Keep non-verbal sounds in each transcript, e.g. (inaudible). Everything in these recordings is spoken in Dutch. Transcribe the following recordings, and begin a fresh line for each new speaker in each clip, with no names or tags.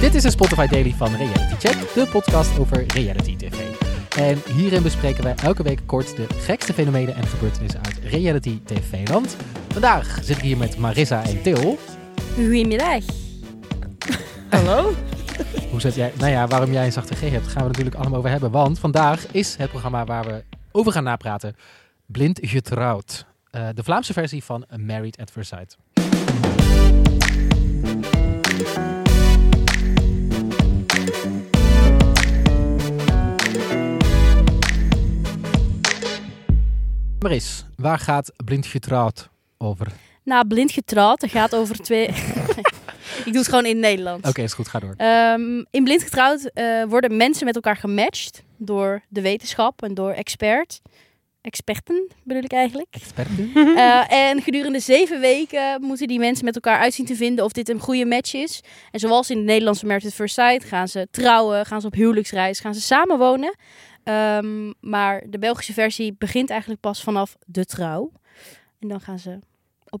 Dit is een Spotify Daily van Reality Check, de podcast over reality TV. En hierin bespreken wij elke week kort de gekste fenomenen en gebeurtenissen uit reality TV-land. Vandaag zit ik hier met Marissa en Til.
Goedemiddag. (laughs) Hallo?
Hoe zet jij, nou ja, waarom jij een zachte G hebt, gaan we natuurlijk allemaal over hebben. Want vandaag is het programma waar we over gaan napraten: Blind Getrouwd. Eh, de Vlaamse versie van Married at First Sight. Maris, waar gaat Blind Getrouwd over? Oké,
Nou, blind getrouwd, dat gaat over twee... (laughs) ik doe het gewoon in het Nederlands.
is goed, ga door.
Ehm, in blind getrouwd eh, worden mensen met elkaar gematcht door de wetenschap en door expert. Experten bedoel ik eigenlijk.
Experten?
Eh, en gedurende zeven weken moeten die mensen met elkaar uitzien te vinden of dit een goede match is. En zoals in de Nederlandse Married at First Sight gaan ze trouwen, gaan ze op huwelijksreis, gaan ze samenwonen. Ehm, maar de Belgische versie begint eigenlijk pas vanaf de trouw. En dan gaan ze op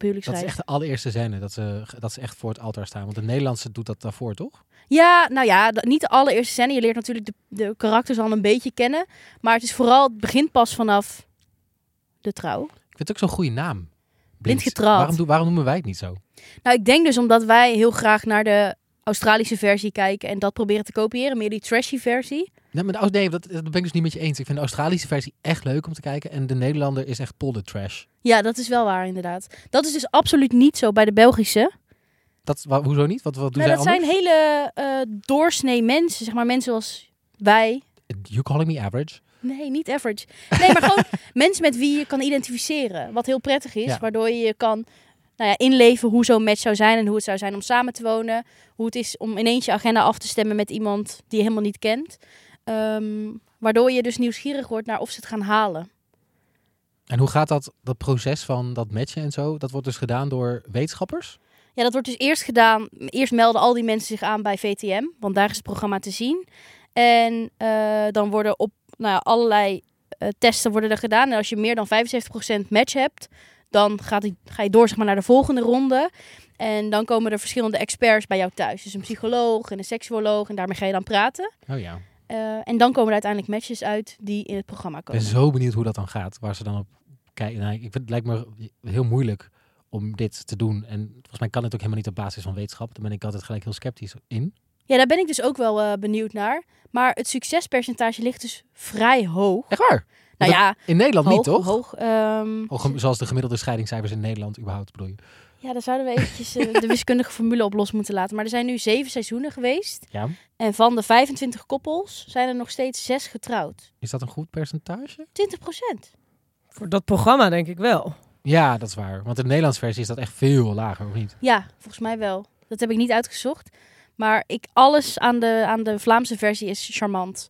Dat is
huwelijksreis.
echt de allereerste scène, dat ze, dat ze echt voor het altaar staan. Want de Nederlandse doet dat daarvoor, toch?
Ja, nou ja, dat- niet de allereerste scène. Je leert natuurlijk de, de karakters al een beetje kennen. Maar het is vooral, het begint pas vanaf de trouw.
Ik vind het ook zo'n goede naam. Blind,
getrouwd.
Waarom, doen- waarom noemen wij het niet zo?
Nou, ik denk dus omdat wij heel graag naar de Australische versie kijken en dat proberen te kopiëren, meer die trashy versie.
Nee, maar de, Aus- nee dat, dat ben ik dus niet met je eens. Ik vind de Australische versie echt leuk om te kijken. En de Nederlander is echt polder trash.
Ja, dat is wel waar inderdaad. Dat is dus absoluut niet zo bij de Belgische.
Dat, wa- hoezo niet? Wat, wat doen
Nou,
zij
dat
anders?
zijn hele eh, doorsnee mensen, zeg maar mensen als wij.
You calling me average?
Nee, niet average. Nee, maar gewoon mensen met wie je kan identificeren, wat heel prettig is,
Ja.
waardoor je je kan nou ja, inleven hoe zo'n match zou zijn en hoe het zou zijn om samen te wonen, hoe het is om ineens je agenda af te stemmen met iemand die je helemaal niet kent. Ehm, waardoor je dus nieuwsgierig wordt naar of ze het gaan halen.
En hoe gaat dat, dat proces van dat matchen en zo? Dat wordt dus gedaan door wetenschappers?
Ja, dat wordt dus eerst gedaan. Eerst melden al die mensen zich aan bij VTM, want daar is het programma te zien. En eh, dan worden op nou ja, allerlei eh, testen worden er gedaan. En als je meer dan 75% match hebt, dan gaat die, ga je door zeg maar, naar de volgende ronde. En dan komen er verschillende experts bij jou thuis. Dus een psycholoog en een seksuoloog. En daarmee ga je dan praten.
Oh ja.
Eh, en dan komen er uiteindelijk matches uit die in het programma
Ik ben
komen.
zo benieuwd hoe dat dan gaat. Waar ze dan op kijken. Nou, ik vind, het lijkt me heel moeilijk om dit te doen. En volgens mij kan het ook helemaal niet op basis van wetenschap. Daar ben ik altijd gelijk heel sceptisch in.
Ja, daar ben ik dus ook wel eh, benieuwd naar. Maar het succespercentage ligt dus vrij hoog.
Echt waar?
Nou ja,
In Nederland
hoog,
niet, toch?
hoog. ehm,
Of gem- zoals de gemiddelde scheidingscijfers in Nederland überhaupt bedoel je.
Ja, daar zouden we eventjes eh, de wiskundige formule op los moeten laten. Maar er zijn nu zeven seizoenen geweest.
Ja.
En van de 25 koppels zijn er nog steeds zes getrouwd.
Is dat een goed percentage?
20 procent.
Voor dat programma denk ik wel.
Ja, dat is waar. Want in de Nederlandse versie is dat echt veel lager, of niet?
Ja, volgens mij wel. Dat heb ik niet uitgezocht. Maar ik, alles aan de, aan de Vlaamse versie is charmant.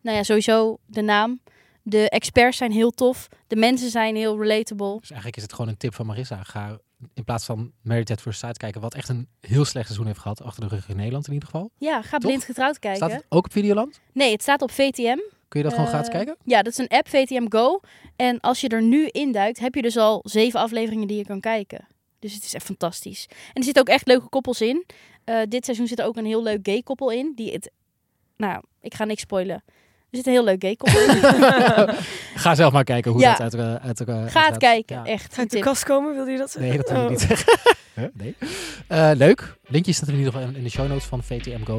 Nou ja, sowieso de naam. De experts zijn heel tof. De mensen zijn heel relatable.
Dus eigenlijk is het gewoon een tip van Marissa. Ga in plaats van Married at First Sight kijken, wat echt een heel slecht seizoen heeft gehad. Achter de rug in Nederland in ieder geval.
Ja, ga
Toch?
blind getrouwd kijken.
Staat het ook op Videoland?
Nee, het staat op VTM.
Kun je dat gewoon
Eh,
gratis kijken?
Ja, dat is een app, VTM Go. En als je er nu induikt, heb je dus al zeven afleveringen die je kan kijken. Dus het is echt fantastisch. En er zitten ook echt leuke koppels in. Eh, dit seizoen zit er ook een heel leuk gay koppel in. Die het... Nou, ik ga niks spoilen. Er zit een heel leuk gay koppel in.
(laughs) Ga zelf maar kijken hoe
Ja.
dat uit, elkaar- uit elkaar (laughs)
Ga het
gaat.
kijken,
Ja.
echt. Een
Uit de
tip.
kast komen, wilde je dat zeggen?
Nee, dat wil ik
Oh.
niet zeggen. Huh? nee. Eh, leuk. Linkje staat er in ieder geval in- in de show notes van VTM Go.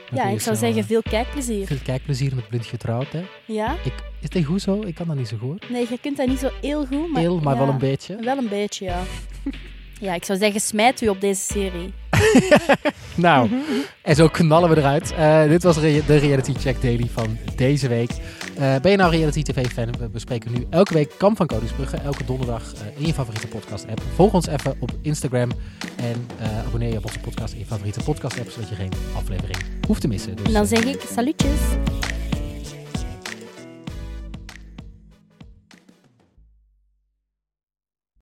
Dan kun
Ja,
je
ik
snel,
zou zeggen,
eh,
veel kijkplezier.
Veel kijkplezier met Blind Getrouwd, hè.
Ja?
Ik, is het hoezo? Ik kan dat niet zo goed.
Nee, je kunt daar niet zo heel goed, maar...
Heel, maar wel
ja,
een beetje.
Wel een beetje, ja. Ja, ik zou zeggen, smijt u op deze serie.
Nou,
Mhm,
en zo knallen we eruit. Eh, dit was re- de Reality Check Daily van deze week. Eh, ben je nou Reality TV-fan? We bespreken nu elke week Kamp van Koningsbrugge. Elke donderdag eh, in je favoriete podcast-app. Volg ons even op Instagram. En eh, abonneer je op onze podcast in je favoriete podcast-app. Zodat je geen aflevering hoeft te missen. Dus,
En dan
eh,
zeg ik, salutjes.